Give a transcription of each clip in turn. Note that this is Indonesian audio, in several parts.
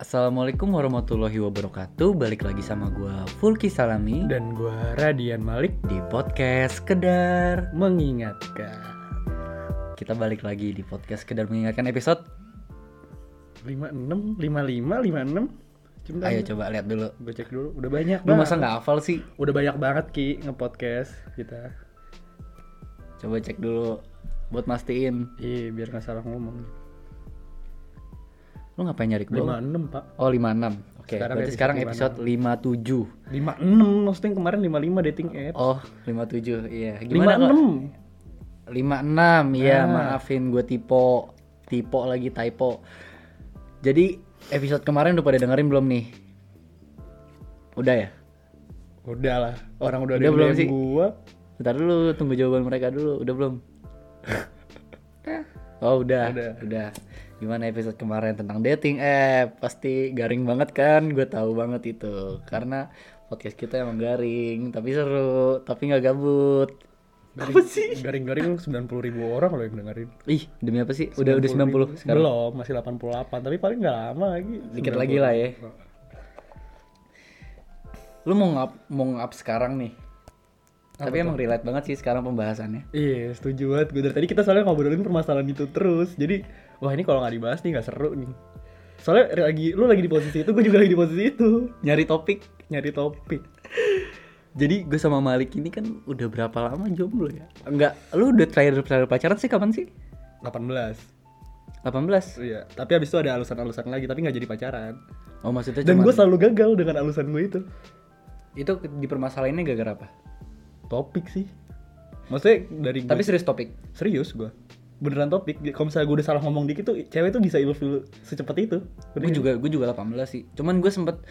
Assalamualaikum warahmatullahi wabarakatuh. Balik lagi sama gua Fulki Salami dan gua Radian Malik di podcast Kedar. mengingatkan Kita balik lagi di podcast Kedar mengingatkan episode. 56 55 56 Cuma Ayo coba lihat dulu. gue cek dulu udah banyak Lu banget masa nggak hafal sih? udah banyak banget Ki ngepodcast kita Coba cek dulu buat mastiin. iya biar nggak salah ngomong Lu ngapain nyari gua? 56 pak Oh, 56. Oke, Sekarang berarti episode sekarang episode 57. 56 maksudnya yang kemarin 55 dating app Oh, 57. Iya. Gimana kok? 56 56 ya Nah. maafin gue typo typo lagi typo jadi episode kemarin udah pada dengerin belum nih udah ya udah lah orang udah, Udah ada belum belum sih? gua bentar dulu tunggu jawaban mereka dulu udah belum oh udah udah, Udah. gimana episode kemarin tentang dating app pasti garing banget kan gue tahu banget itu karena podcast kita emang garing tapi seru tapi nggak gabut apa sih garing-garing 90 ribu orang loh yang dengerin ih demi apa sih udah udah 90 sekarang belum masih 88 tapi paling nggak lama lagi Dikit lagi lah ya. lu mau ngap mau ngap sekarang nih tapi emang relate banget sih sekarang pembahasannya Iya, setuju banget. Gue dari tadi kita soalnya ngobrolin permasalahan itu terus. Jadi, wah ini kalau nggak dibahas nih nggak seru nih. Soalnya re- lagi lu lagi di posisi itu, gue juga lagi di posisi itu. nyari topik Nyari topik. jadi gue sama Malik ini kan udah berapa lama jomblo ya enggak lu udah terakhir terakhir pacaran sih kapan sih 18. 18 Iya, tapi abis itu ada alasan-alasan lagi, tapi nggak jadi pacaran. oh maksudnya Dan cuman- gue selalu gagal dengan alasan gue itu. itu dipermasalahinnya gara-gara apa Topik sih. Maksudnya dari gue, tapi serius topik serius gue. Beneran topik. Kalau misalnya gue udah salah ngomong dikit tuh, cewek tuh bisa ilfil secepat itu. gue Iya. juga gue juga 18 sih cuman gue sempet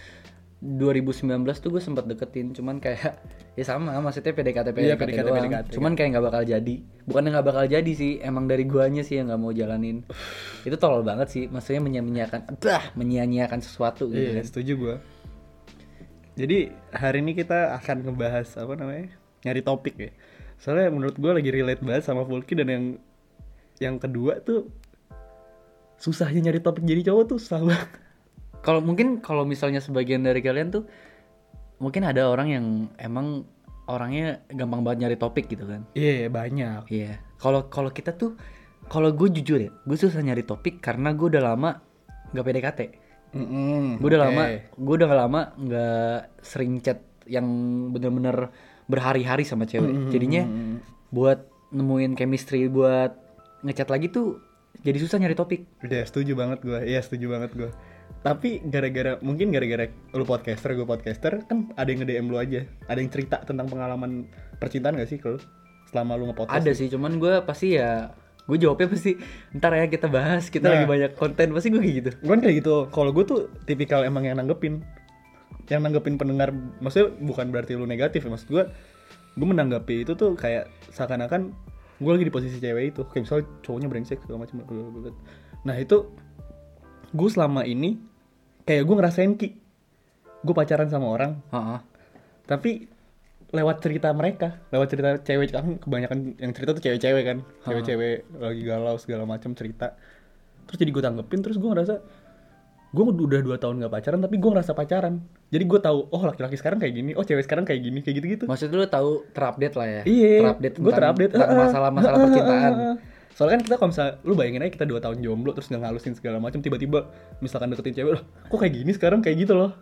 2019 tuh gue sempet deketin cuman kayak ya sama maksudnya PDKT PDKT, Iya, PDKT, doang. PDKT. cuman kayak nggak bakal jadi bukan nggak bakal jadi sih emang dari guanya sih yang nggak mau jalanin itu tolol banget sih maksudnya menyia-nyiakan bah menyia-nyiakan sesuatu gitu Iya, kan. setuju gua. Jadi hari ini kita akan ngebahas apa namanya? Nyari topik ya. Soalnya menurut gua lagi relate banget sama Fulki dan yang yang kedua tuh susahnya nyari topik jadi cowok tuh susah banget. kalau mungkin kalau misalnya sebagian dari kalian tuh mungkin ada orang yang emang orangnya gampang banget nyari topik gitu kan Iya, banyak. Iya. Kalau kalau kita tuh kalau gue jujur ya, gue susah nyari topik karena gue udah lama nggak PDKT. Gue udah lama, gue udah lama nggak sering chat yang bener-bener berhari-hari sama cewek. Mm-hmm. Jadinya buat nemuin chemistry buat ngechat lagi tuh jadi susah nyari topik. Udah setuju banget gua. Iya, setuju banget gua. Tapi gara-gara mungkin gara-gara lu podcaster, gua podcaster, kan ada yang nge-DM lu aja. Ada yang cerita tentang pengalaman percintaan gak sih kalau selama lu nge-podcast? Ada sih, cuman gue pasti ya gue jawabnya pasti ntar ya kita bahas kita Nah. lagi banyak konten pasti gue kayak gitu Gue kan kayak gitu, kalau gue tuh tipikal emang yang nanggepin Yang nanggepin pendengar, maksudnya bukan berarti lu negatif ya Maksud gue, gue menanggapi itu tuh kayak seakan-akan gue lagi di posisi cewek itu Kayak misalnya cowoknya brengsek segala macam Nah itu, gue selama ini kayak gue ngerasain Ki Gue pacaran sama orang, Heeh. tapi lewat cerita mereka lewat cerita cewek kan kebanyakan yang cerita tuh cewek-cewek kan cewek-cewek lagi galau segala macam cerita terus jadi gue tanggepin terus gue ngerasa gue udah dua tahun gak pacaran tapi gue ngerasa pacaran jadi gue tahu oh laki-laki sekarang kayak gini oh cewek sekarang kayak gini kayak gitu-gitu maksud lu tahu terupdate lah ya Iya, terupdate gue tentang- terupdate tentang Ah, ah, masalah-masalah ah, ah, percintaan ah, ah. Soalnya kan kita kalau misalnya, lu bayangin aja kita 2 tahun jomblo terus nggak ngalusin segala macam tiba-tiba misalkan deketin cewek loh, kok kayak gini sekarang kayak gitu loh.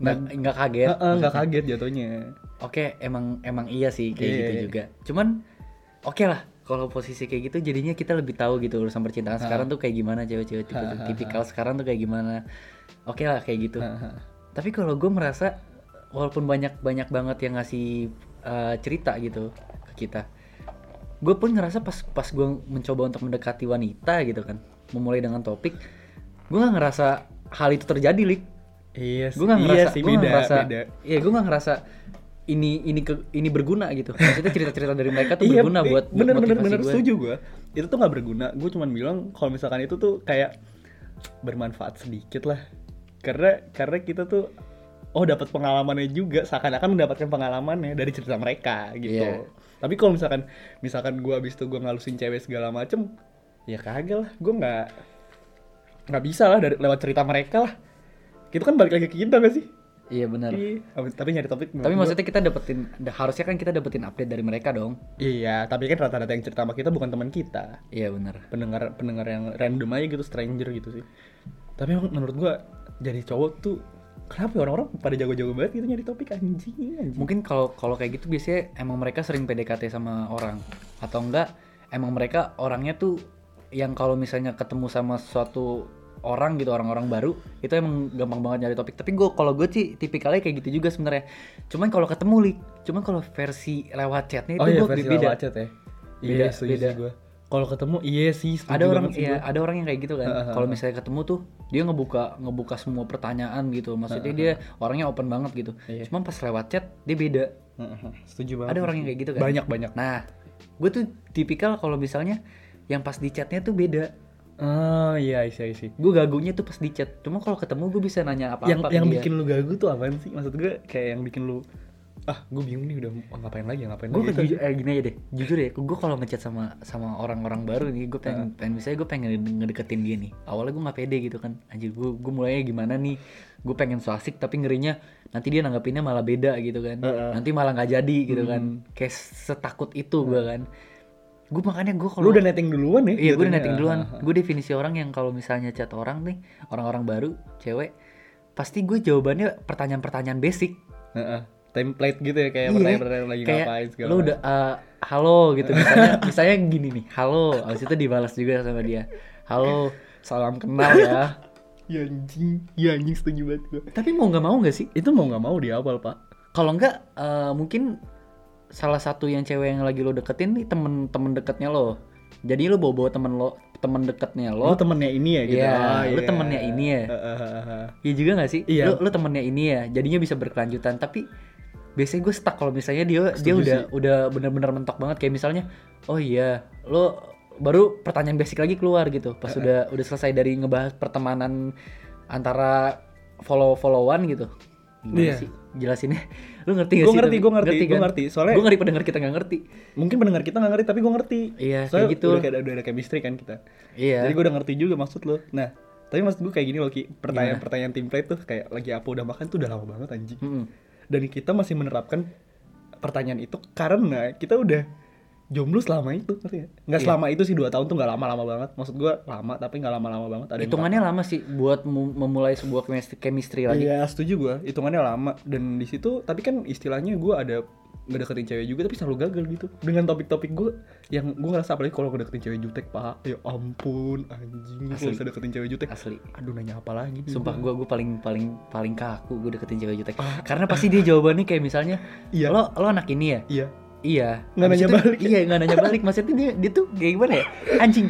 nggak nggak kaget. Ah, ah, nggak kaget jatuhnya. Oke, emang emang iya sih kayak Iya, gitu iya. juga. Cuman oke lah kalau posisi kayak gitu jadinya kita lebih tahu gitu urusan percintaan sekarang tuh kayak gimana cewek-cewek tipe- Ha, ha, tipikal sekarang tuh kayak gimana. Oke lah kayak gitu. Ah, ah. Tapi kalau gue merasa walaupun banyak-banyak banget yang ngasih eh, cerita gitu ke kita. Gue pun ngerasa pas pas gue mencoba untuk mendekati wanita gitu kan, memulai dengan topik, gue nggak ngerasa hal itu terjadi, Lik Iya sih, gue nggak iya ngerasa sih, gue nggak beda, ngerasa beda. iya gue nggak ngerasa ini ini ke, ini berguna gitu maksudnya cerita-cerita dari mereka tuh berguna eh, buat buat bener bener motivasi bener gue. setuju gue itu tuh nggak berguna gue cuman bilang kalau misalkan itu tuh kayak bermanfaat sedikit lah karena karena kita tuh oh dapat pengalamannya juga seakan-akan mendapatkan pengalamannya dari cerita mereka gitu Iya. tapi kalau misalkan misalkan gue abis itu gue ngalusin cewek segala macem ya kagak lah gue nggak nggak bisa lah dari lewat cerita mereka lah Itu kan balik lagi ke kita gak sih? Iya benar. Iya. Tapi- Tapi nyari topik. menurut Tapi gua- maksudnya kita dapetin da- harusnya kan kita dapetin update dari mereka dong. Iya, tapi kan rata-rata yang cerita sama kita bukan teman kita. Iya benar. Pendengar pendengar yang random aja gitu, stranger gitu sih. Tapi emang menurut gua jadi cowok tuh kenapa ya orang-orang pada jago-jago banget gitu nyari topik anjing, anjing. Mungkin kalau kalau kayak gitu biasanya emang mereka sering PDKT sama orang atau enggak emang mereka orangnya tuh yang kalau misalnya ketemu sama suatu orang gitu orang-orang baru itu emang gampang banget nyari topik tapi gue kalau gue sih tipikalnya kayak gitu juga sebenarnya cuman kalau ketemu li cuman kalau versi lewat chatnya Oh itu gue beda chat ya. Beda, Iya, setuju beda. sih gua. Kalau ketemu iya sih, setuju ada orang banget sih ya gua. ada orang yang kayak gitu kan Ha, ha, ha. kalau misalnya ketemu tuh dia ngebuka ngebuka semua pertanyaan gitu maksudnya dia orangnya open banget gitu Iya. cuman pas lewat chat dia beda Heeh, Setuju banget. ada orang yang kayak gitu kan banyak banyak. nah gue tuh tipikal kalau misalnya yang pas di chatnya tuh beda Ah, Oh iya, iya, iya. gue gagunya tuh pas di chat cuma kalau ketemu gue bisa nanya apa apa yang yang bikin lu gagu tuh apaan sih? Maksud gue kayak yang bikin lu ah gue bingung nih udah mau ngapain lagi ngapain gue lagi jujur eh, gini aja deh jujur ya gue kalau ngechat sama sama orang-orang baru nih gue Nah. pengen, pengen misalnya gue pengen ngede- ngedeketin dia nih awalnya gue nggak pede gitu kan anjir gue gue mulainya gimana nih gue pengen so asik tapi ngerinya nanti dia nanggapinnya malah beda gitu kan Heeh. Hmm. nanti malah nggak jadi gitu kan kayak setakut itu gue kan gue makanya gue kalau Nah. lu udah netting duluan Iya gue ya udah jatuhnya. netting duluan Ah, ah, ah. Gue definisi orang yang kalau misalnya chat orang nih Orang-orang baru, cewek Pasti gue jawabannya pertanyaan-pertanyaan basic Ah, ah. template gitu ya kayak Iya, pertanyaan-pertanyaan lagi kayak ngapain segala Lu udah eh, halo gitu Misalnya, misalnya gini nih Halo Abis itu dibalas juga sama dia Halo Salam kenal ya macam. ya anjing ya anjing setuju banget gue Tapi mau nggak mau nggak sih? itu mau nggak mau di awal pak Kalau nggak eh, mungkin Salah satu yang cewek yang lagi lo deketin nih Temen-temen deketnya lo Jadi lo bawa-bawa temen lo Temen deketnya lu lo temennya ini ya gitu Iya, Ah, lu iya. temennya ini ya. Ah, ah, ah, ah. Iya juga gak sih? Iya. Lu, lu temennya ini ya, jadinya bisa berkelanjutan. Tapi biasanya gue stuck kalau misalnya dia dia Setuju udah sih. udah benar-benar mentok banget kayak misalnya, oh iya, lo baru pertanyaan basic lagi keluar gitu. Pas udah udah selesai dari ngebahas pertemanan antara follow-followan gitu. Gimana Iya. sih jelasinnya? Lu ngerti gak Gua sih? ngerti, tapi? gua ngerti, gua kan? ngerti. Soalnya- Gua ngeri pendengar kita gak ngerti. mungkin pendengar kita nggak ngerti tapi gue ngerti Iya, Soalnya kayak gitu. udah, kayak- udah ada chemistry kan kita Iya. jadi gue udah ngerti juga maksud lo nah tapi maksud gue kayak gini loh Ki pertanyaan-pertanyaan template tuh kayak lagi apa udah makan tuh udah lama banget anjing Mm-mm. dan kita masih menerapkan pertanyaan itu karena kita udah jomblo selama itu ngerti nggak? nggak Iya. selama itu sih dua tahun tuh nggak lama-lama banget maksud gua lama tapi nggak lama-lama banget ada yang Hitungannya lama sih buat mu- memulai sebuah chemistry, chemistry berapa- lagi. iya setuju gua hitungannya lama dan di situ tapi kan istilahnya gua ada ngedeketin cewek juga tapi selalu gagal gitu dengan topik-topik gua yang gua ngerasa apalagi kalau ngedeketin cewek jutek pak ya ampun anjing gua Asli. kalau bisa deketin cewek jutek Asli. aduh nanya apa lagi nih Sumpah gua? gue gue paling paling paling kaku gue deketin cewek jutek. Ah. Karena pasti dia jawabannya kayak misalnya, Iya. lo lo anak ini ya? iya Iya. Nggak Habis nanya itu- balik ya? Iya nggak nanya balik. Maksudnya dia dia tuh kayak gimana ya? Anjing.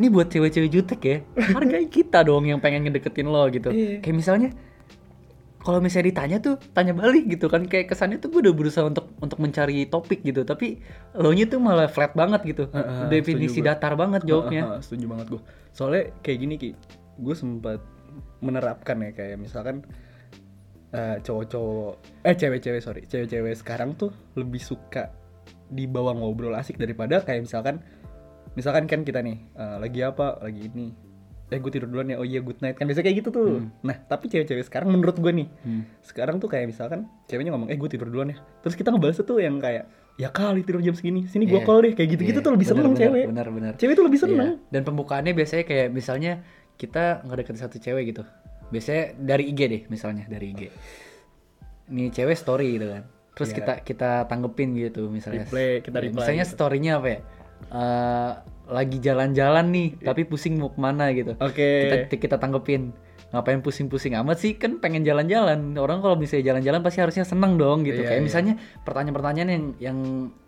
Ini buat cewek-cewek jutek ya. Hargai kita dong yang pengen ngedeketin lo gitu. Iya. Kayak misalnya kalau misalnya ditanya tuh tanya balik gitu kan kayak kesannya tuh gue udah berusaha untuk untuk mencari topik gitu tapi lo nya tuh malah flat banget gitu Heeh, definisi setuju gue. datar banget Ah, jawabnya ah, setuju banget gue. Soalnya kayak gini ki, gue sempat menerapkan ya kayak misalkan eh, cowok-cowok, eh cewek-cewek sorry, cewek-cewek sekarang tuh lebih suka dibawa ngobrol asik daripada kayak misalkan, misalkan kan kita nih eh, lagi apa, lagi ini, eh gue tidur duluan ya, oh iya good night kan biasa kayak gitu tuh. Nah tapi cewek-cewek sekarang menurut gue nih, Hmm. sekarang tuh kayak misalkan ceweknya ngomong, eh gue tidur duluan ya, terus kita ngebales tuh yang kayak ya kali tidur jam segini, sini gue Iya. call deh, kayak Iya, gitu-gitu tuh lebih benar, seneng benar, cewek. benar benar Cewek tuh lebih seneng. Iya. Dan pembukaannya biasanya kayak misalnya kita ngedeketin satu cewek gitu. Biasanya dari IG deh misalnya dari IG. Nih cewek story gitu kan. Terus Iya. kita kita tanggepin gitu misalnya. Reply, kita Ya, reply Misalnya gitu. story-nya apa ya? Eh, lagi jalan-jalan nih tapi pusing mau kemana gitu. Iya. Oke. Kita kita tanggepin. Ngapain pusing-pusing amat sih kan pengen jalan-jalan. Orang kalau misalnya jalan-jalan pasti harusnya seneng dong gitu. Iya, kayak iya. misalnya pertanyaan-pertanyaan yang yang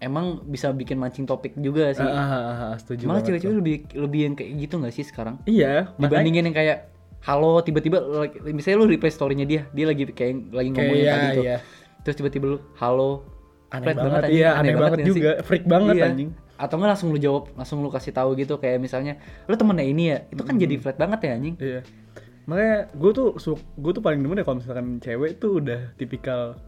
emang bisa bikin mancing topik juga sih. Ah, ah, ah, ah, setuju Malah banget cewek-cewek gua. lebih lebih yang kayak gitu nggak sih sekarang? Iya, makanya- Dibandingin yang kayak halo tiba-tiba like, misalnya lu replay story-nya dia, dia lagi kayak lagi ngomongin Kayak, tadi tuh. iya. Terus tiba-tiba lu halo aneh flat banget, anjing, iya, aneh, banget, nggak sih? juga, freak banget Iya. anjing. Atau nggak langsung lu jawab, langsung lu kasih tahu gitu kayak misalnya lu temennya ini ya, itu Hmm. kan jadi flat banget ya anjing. Iya. Makanya gue tuh gue tuh paling demen ya kalau misalkan cewek tuh udah tipikal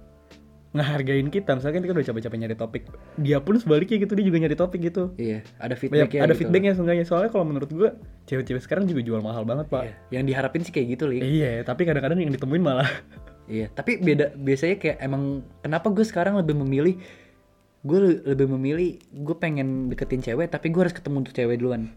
ngehargain kita misalkan kita udah capek-capek nyari topik dia pun sebaliknya gitu dia juga nyari topik gitu Iya, ada Banyak- feedbacknya. ada gitu. feedbacknya seenggaknya soalnya kalau menurut gua cewek-cewek sekarang juga jual mahal banget pak Iya, Yang diharapin sih kayak gitu, Lik. iya tapi kadang-kadang yang ditemuin malah Iya, tapi beda biasanya kayak emang kenapa gue sekarang lebih memilih gue le- lebih memilih gue pengen deketin cewek tapi gue harus ketemu tuh cewek duluan.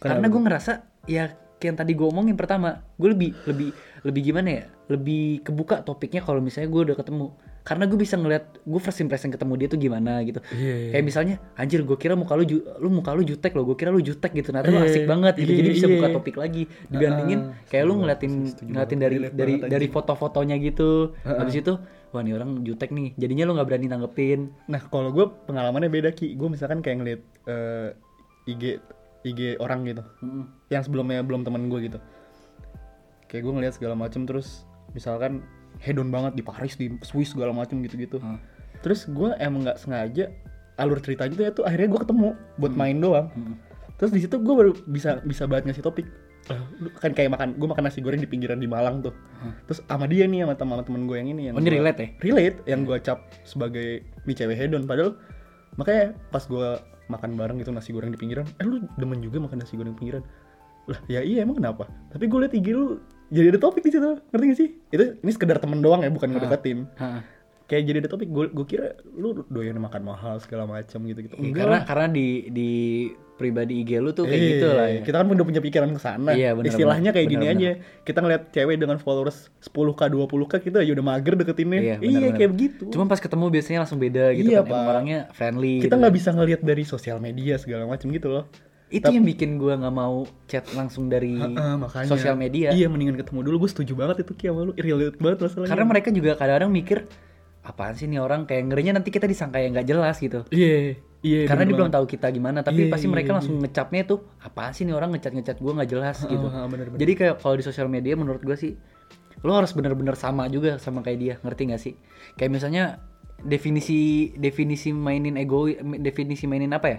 Kenapa Karena tuh? gue ngerasa ya kayak yang tadi gue omongin pertama, gue lebih lebih lebih gimana ya? Lebih kebuka topiknya kalau misalnya gue udah ketemu. Karena gue bisa ngeliat gue first impression ketemu dia tuh gimana gitu. Iya, iya. Kayak misalnya anjir gue kira muka lu ju- lu muka lu jutek loh, gue kira lu jutek gitu. Ternyata lu Iya, asik banget gitu. iya, Jadi bisa iya. buka topik lagi dibandingin Ah, kayak lu setuju banget, ngeliatin setuju ngeliatin banget. dari Relate dari banget, dari anjing. foto-fotonya gitu. Habis itu wah nih orang jutek nih. Jadinya lu nggak berani tanggepin. Nah, kalau gue pengalamannya beda ki. Gue misalkan kayak ngeliat eh, IG IG orang gitu, Mm-mm. yang sebelumnya belum temen gue gitu. Kayak gue ngeliat segala macem terus misalkan hedon banget di Paris, di Swiss segala macem gitu-gitu. Hmm. Terus gue emang nggak sengaja alur cerita gitu ya tuh akhirnya gue ketemu buat main doang. Hmm. Terus di situ gue baru bisa bisa banget ngasih topik. Lu kan kayak makan gue makan nasi goreng di pinggiran di Malang tuh. Terus sama dia nih sama teman temen gue yang ini yang Hmm. Oh, ini gua- relate ya? relate yang gue cap sebagai mie cewek hedon padahal makanya pas gue makan bareng gitu nasi goreng di pinggiran eh lu demen juga makan nasi goreng pinggiran lah ya iya emang kenapa tapi gue liat IG lu jadi ada topik di situ ngerti gak sih itu ini sekedar temen doang ya Ah. bukan ngedeketin Ha. kayak jadi ada topik gue gue kira lu doyan makan mahal segala macam gitu gitu Iya, karena karena di di pribadi IG lu tuh kayak Iya, gitu lah. Ya. Kita kan udah punya pikiran ke sana. Iya, benar, Istilahnya benar. kayak gini Benar, aja. Kita ngeliat cewek dengan followers 10k 20k kita aja udah mager deketinnya. Iya, Iya, benar-benar. kayak begitu. Cuma pas ketemu biasanya langsung beda gitu Iya, kan. Emang Pak. orangnya friendly. kita gitu. nggak bisa ngeliat dari sosial media segala macam gitu loh. Itu yang bikin gua nggak mau chat langsung dari Ah, makanya. Hmm. sosial media. Iya, mendingan ketemu dulu. Gue setuju banget itu Ki sama lu. Relate banget masalahnya. Karena mereka juga kadang-kadang mikir apaan sih nih orang kayak ngerinya nanti kita disangka yang nggak jelas gitu. Iya. Iya. Karena dia belum tahu tahu kita gimana, tapi Iya, pasti mereka iya, langsung ngecapnya tuh apaan sih nih orang ngecat-ngecat gua nggak jelas gitu. ah, benar, benar. Jadi kayak kalau di sosial media menurut gua sih lo harus bener-bener sama juga sama kayak dia, ngerti nggak sih? Kayak misalnya definisi definisi mainin ego, definisi mainin apa ya?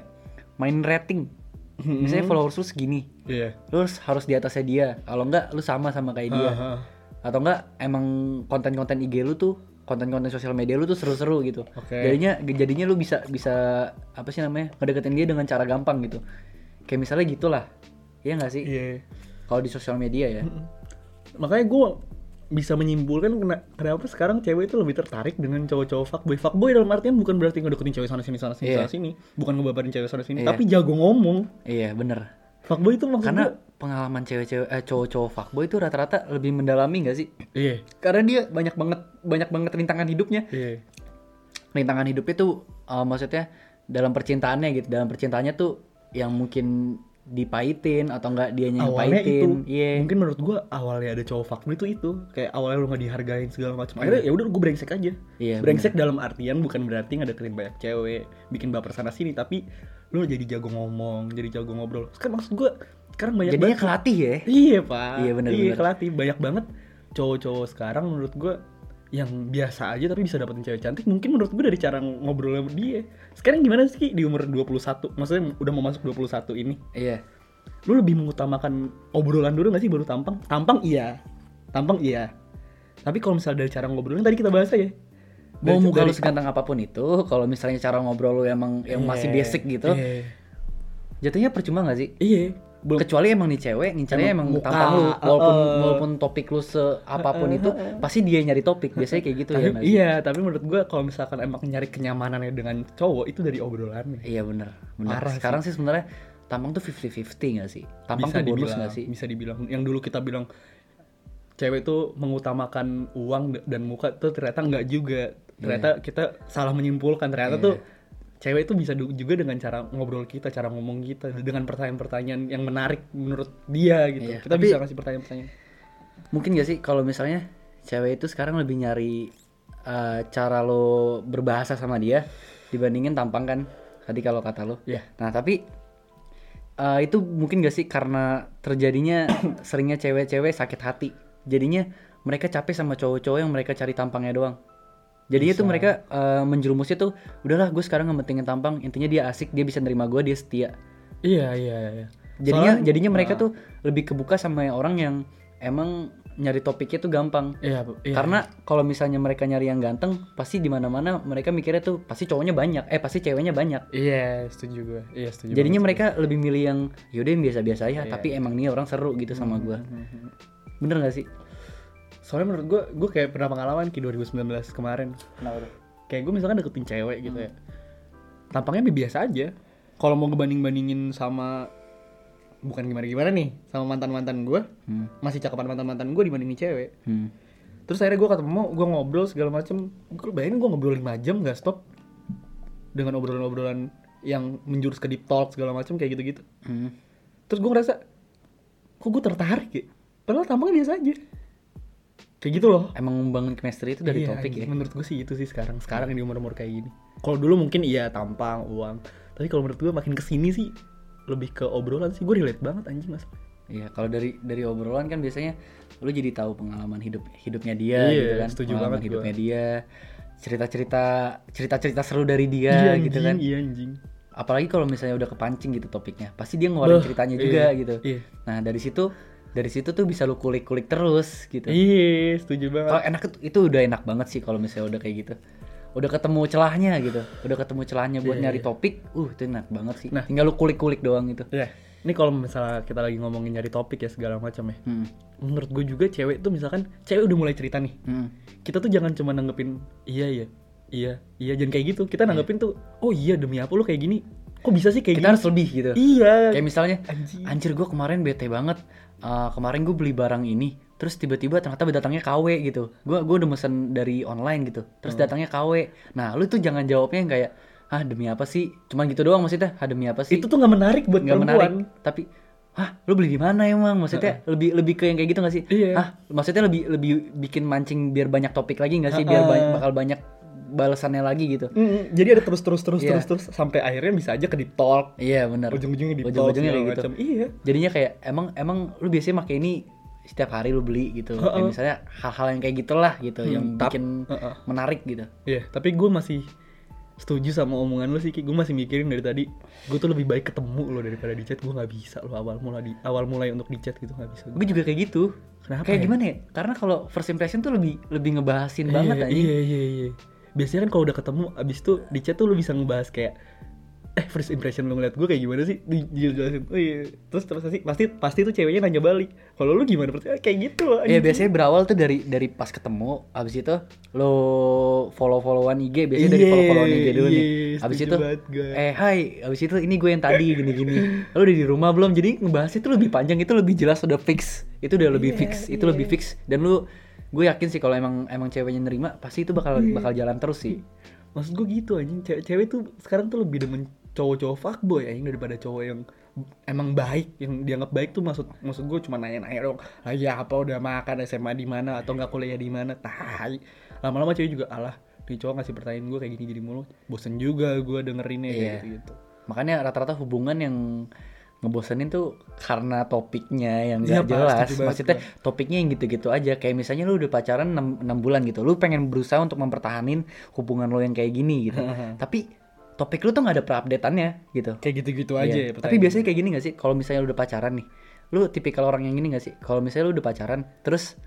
Main rating. Mm-hmm. Misalnya followers lu segini, Iya. lu harus- harus di atasnya dia. Kalau enggak lu sama sama kayak dia. Ah, ah. Atau enggak emang konten-konten IG lu tuh konten-konten sosial media lu tuh seru-seru gitu. Oke. Jadinya jadinya lu bisa bisa apa sih namanya? ngedeketin dia dengan cara gampang gitu. Kayak misalnya gitulah. Iya enggak sih? Iya. Kalau di sosial media ya. makanya gue bisa menyimpulkan kena- kenapa sekarang cewek itu lebih tertarik dengan cowok-cowok fuckboy fuckboy dalam artian bukan berarti ngedeketin cewek sana sini sana sini Iya. sana sini bukan ngebabarin cewek sana sini Iya. tapi jago ngomong Iya, bener fuckboy itu maksud Karena gua- pengalaman cewek-cewek eh, cowok-cowok fuckboy itu rata-rata lebih mendalami enggak sih? iya Karena dia banyak banget banyak banget rintangan hidupnya. iya rintangan hidupnya tuh uh, maksudnya dalam percintaannya gitu dalam percintaannya tuh yang mungkin dipahitin atau enggak dianya yang awalnya itu pahitin iya mungkin menurut gue awalnya ada cowok fuckboy itu itu kayak awalnya lu nggak dihargain segala macam akhirnya ya udah gue brengsek aja Iya, brengsek dalam artian bukan berarti ngedeketin banyak cewek bikin baper sana sini tapi lu jadi jago ngomong jadi jago ngobrol kan maksud gue sekarang banyak jadinya banget kelatih ya Iya pak. Iya, bener, Iya bener. kelatih banyak banget cowok-cowok sekarang menurut gue yang biasa aja tapi bisa dapetin cewek cantik mungkin menurut gue dari cara ngobrol sama dia sekarang gimana sih Ki, di umur 21 maksudnya udah mau masuk 21 ini iya lu lebih mengutamakan obrolan dulu gak sih baru tampang tampang iya tampang iya tapi kalau misalnya dari cara ngobrolnya tadi kita bahas aja mau Dari- muka lu dari- seganteng apapun itu kalau misalnya cara ngobrol lu emang yang masih Iya, basic gitu iya, jatuhnya percuma nggak sih iya belum kecuali emang nih cewek ngincarnya emang Emang muka, tampang lu walaupun uh-uh. walaupun topik lu seapapun itu pasti dia nyari topik biasanya kayak gitu ya uh, tapi, nggak sih? iya tapi menurut gue kalau misalkan emang nyari kenyamanannya dengan cowok itu dari obrolannya iya bener bener Parah sih. sekarang sih, sebenarnya tampang tuh 50-50 nggak sih tampang bisa tuh bonus dibilang, nggak sih Bisa dibilang yang dulu kita bilang cewek tuh mengutamakan uang d- dan muka tuh ternyata nggak juga. Iya. Ternyata kita salah menyimpulkan ternyata tuh cewek itu bisa du- juga dengan cara ngobrol kita, cara ngomong kita dengan pertanyaan-pertanyaan yang menarik menurut dia gitu. Iya, Kita tapi- bisa kasih pertanyaan-pertanyaan. Mungkin gak sih kalau misalnya cewek itu sekarang lebih nyari eh, cara lo berbahasa sama dia dibandingin tampang kan tadi kalau kata lo. Iya. Nah tapi eh, itu mungkin gak sih karena terjadinya seringnya cewek-cewek sakit hati. Jadinya mereka capek sama cowok-cowok yang mereka cari tampangnya doang. Jadinya tuh mereka eh, menjerumusnya tuh udahlah gue sekarang ngementingin tampang intinya dia asik dia bisa nerima gue dia setia Iya, iya, iya. jadinya jadinya mereka tuh lebih kebuka sama yang orang yang emang nyari topiknya tuh gampang. Iya, Bu. Iya. Karena kalau misalnya mereka nyari yang ganteng, pasti di mana-mana mereka mikirnya tuh pasti cowoknya banyak, eh pasti ceweknya banyak. Iya, setuju gue. Iya, setuju. Jadinya banget. mereka lebih milih yang yaudah yang biasa-biasa Iya. ya, tapi emang nih orang seru gitu Hmm. sama gua. Bener gak sih? Mhm. soalnya menurut gue gue kayak pernah pengalaman ki 2019 kemarin kayak gue misalkan deketin cewek gitu ya tampangnya bi- biasa aja kalau mau ngebanding bandingin sama bukan gimana gimana nih sama mantan mantan gue Hmm. masih cakepan mantan mantan gue dibandingin cewek Hmm. terus akhirnya gue ketemu gue ngobrol segala macem gue bayangin gue ngobrol 5 jam gak stop dengan obrolan-obrolan yang menjurus ke deep talk segala macem kayak gitu-gitu Hmm. terus gue ngerasa kok gue tertarik ya padahal tampangnya biasa aja kayak gitu loh Emang membangun chemistry itu dari Iya, topik Hmm. ya. anjing. Menurut gue sih itu sih sekarang. Sekarang di umur-umur kayak gini. Kalau dulu mungkin iya tampang, uang. Tapi kalau menurut gue makin kesini sih lebih ke obrolan sih. Gue relate banget anjing mas. Iya, kalau dari dari obrolan kan biasanya lu jadi tahu pengalaman hidup hidupnya dia Iya, gitu kan. setuju pengalaman banget gua. hidupnya dia. Cerita-cerita cerita-cerita seru dari iya dia anjing, gitu kan. Iya anjing. Apalagi kalau misalnya udah kepancing gitu topiknya, pasti dia ngeluarin Beuh, ceritanya iya, juga gitu. Iya. Nah, dari situ dari situ tuh bisa lu kulik-kulik terus gitu. Iya, setuju banget. Kalau enak itu- itu udah enak banget sih kalau misalnya udah kayak gitu. Udah ketemu celahnya gitu. Udah ketemu celahnya buat Iya, nyari topik. Uh, itu enak banget sih. Nah. Tinggal lu kulik-kulik doang gitu. Iya. Ini kalau misalnya kita lagi ngomongin nyari topik ya segala macam ya. Hmm. Menurut gue juga cewek tuh misalkan cewek udah mulai cerita nih. Hmm. Kita tuh jangan cuma nanggepin iya iya. Iya, iya jangan kayak gitu. Kita nanggepin tuh, oh iya demi apa lu kayak gini? Kok bisa sih kayak Kita gini? harus lebih gitu. Iya. Kayak misalnya, Anjing. anjir gue kemarin bete banget. Eh, kemarin gue beli barang ini, terus tiba-tiba ternyata datangnya KW gitu. Gue gue udah mesen dari online gitu, Hmm. terus datangnya KW. Nah, lu tuh jangan jawabnya yang kayak, ah demi apa sih? Cuman gitu doang maksudnya. Ah demi apa sih? itu tuh nggak menarik buat nggak perempuan. menarik. Tapi, ah lu beli di mana emang? Maksudnya lebih lebih ke yang kayak gitu gak sih? Iya. Ah maksudnya lebih lebih bikin mancing biar banyak topik lagi gak sih? Biar ba- Ha-ha. bakal banyak balasannya lagi gitu. Mm, jadi ada terus terus terus Iya. terus terus sampai akhirnya bisa aja ke deep talk. Iya benar. Ujung-ujungnya deep talk. Ujung-ujungnya kayak segala gitu. macam. Iya. jadinya kayak emang emang lu biasanya pakai ini setiap hari lu beli gitu Heeh. Ya, Hmm, misalnya hal-hal yang kayak gitulah gitu yang tap. bikin Heeh. menarik gitu Iya, tapi gue masih setuju sama omongan lu sih Ki. Gue masih mikirin dari tadi Gue tuh lebih baik ketemu lo daripada di chat Gue gak bisa lo awal mulai di, awal mulai untuk di chat gitu gak bisa gue juga kayak gitu Kenapa kayak ya? gimana ya karena kalau first impression tuh lebih lebih ngebahasin Iya, banget anjing Iya iya iya Biasanya kan kalau udah ketemu abis itu di chat tuh lu bisa ngebahas kayak Eh first impression lu ngeliat gue kayak gimana sih Di- Dijelasin Oh iya Terus terus pasti pasti, pasti tuh ceweknya nanya balik Kalau lu gimana percaya kayak gitu loh Iya anjing. biasanya berawal tuh dari dari pas ketemu, abis itu lo follow followan IG biasanya dari Iya, follow followan IG dulu nih. iya, Abis setuju itu, banget gua. eh hai, abis itu ini gue yang tadi gini gini. Lo udah di rumah belum? Jadi ngebahasnya tuh lebih panjang, itu lebih jelas, udah fix, itu udah Iya, lebih fix, itu lebih fix. Dan lu, gue yakin sih kalau emang emang ceweknya nerima, pasti itu bakal Iya. bakal jalan terus sih. Maksud gue gitu anjing cewek, cewek tuh sekarang tuh lebih demen cowok-cowok fuckboy anjing daripada cowok yang emang baik yang dianggap baik tuh maksud maksud gue cuma nanya-nanya dong ah ya apa udah makan SMA di mana atau nggak kuliah di mana tai lama-lama cewek juga alah nih cowok ngasih pertanyaan gue kayak gini gini mulu bosen juga gue dengerinnya kayak Iya. gitu gitu Makanya rata-rata hubungan yang ngebosenin tuh karena topiknya yang Iya, gak Pak, jelas. setuju banget Maksudnya topiknya yang gitu-gitu aja. Kayak misalnya lu udah pacaran 6, bulan gitu. Lu pengen berusaha untuk mempertahanin hubungan lo yang kayak gini gitu. Tapi topik lu tuh gak ada perupdateannya gitu. kayak gitu-gitu Iya. aja ya Tapi pertanyaan. biasanya kayak gini gak sih? Kalau misalnya lu udah pacaran nih. Lu tipikal orang yang gini gak sih? Kalau misalnya lu udah pacaran terus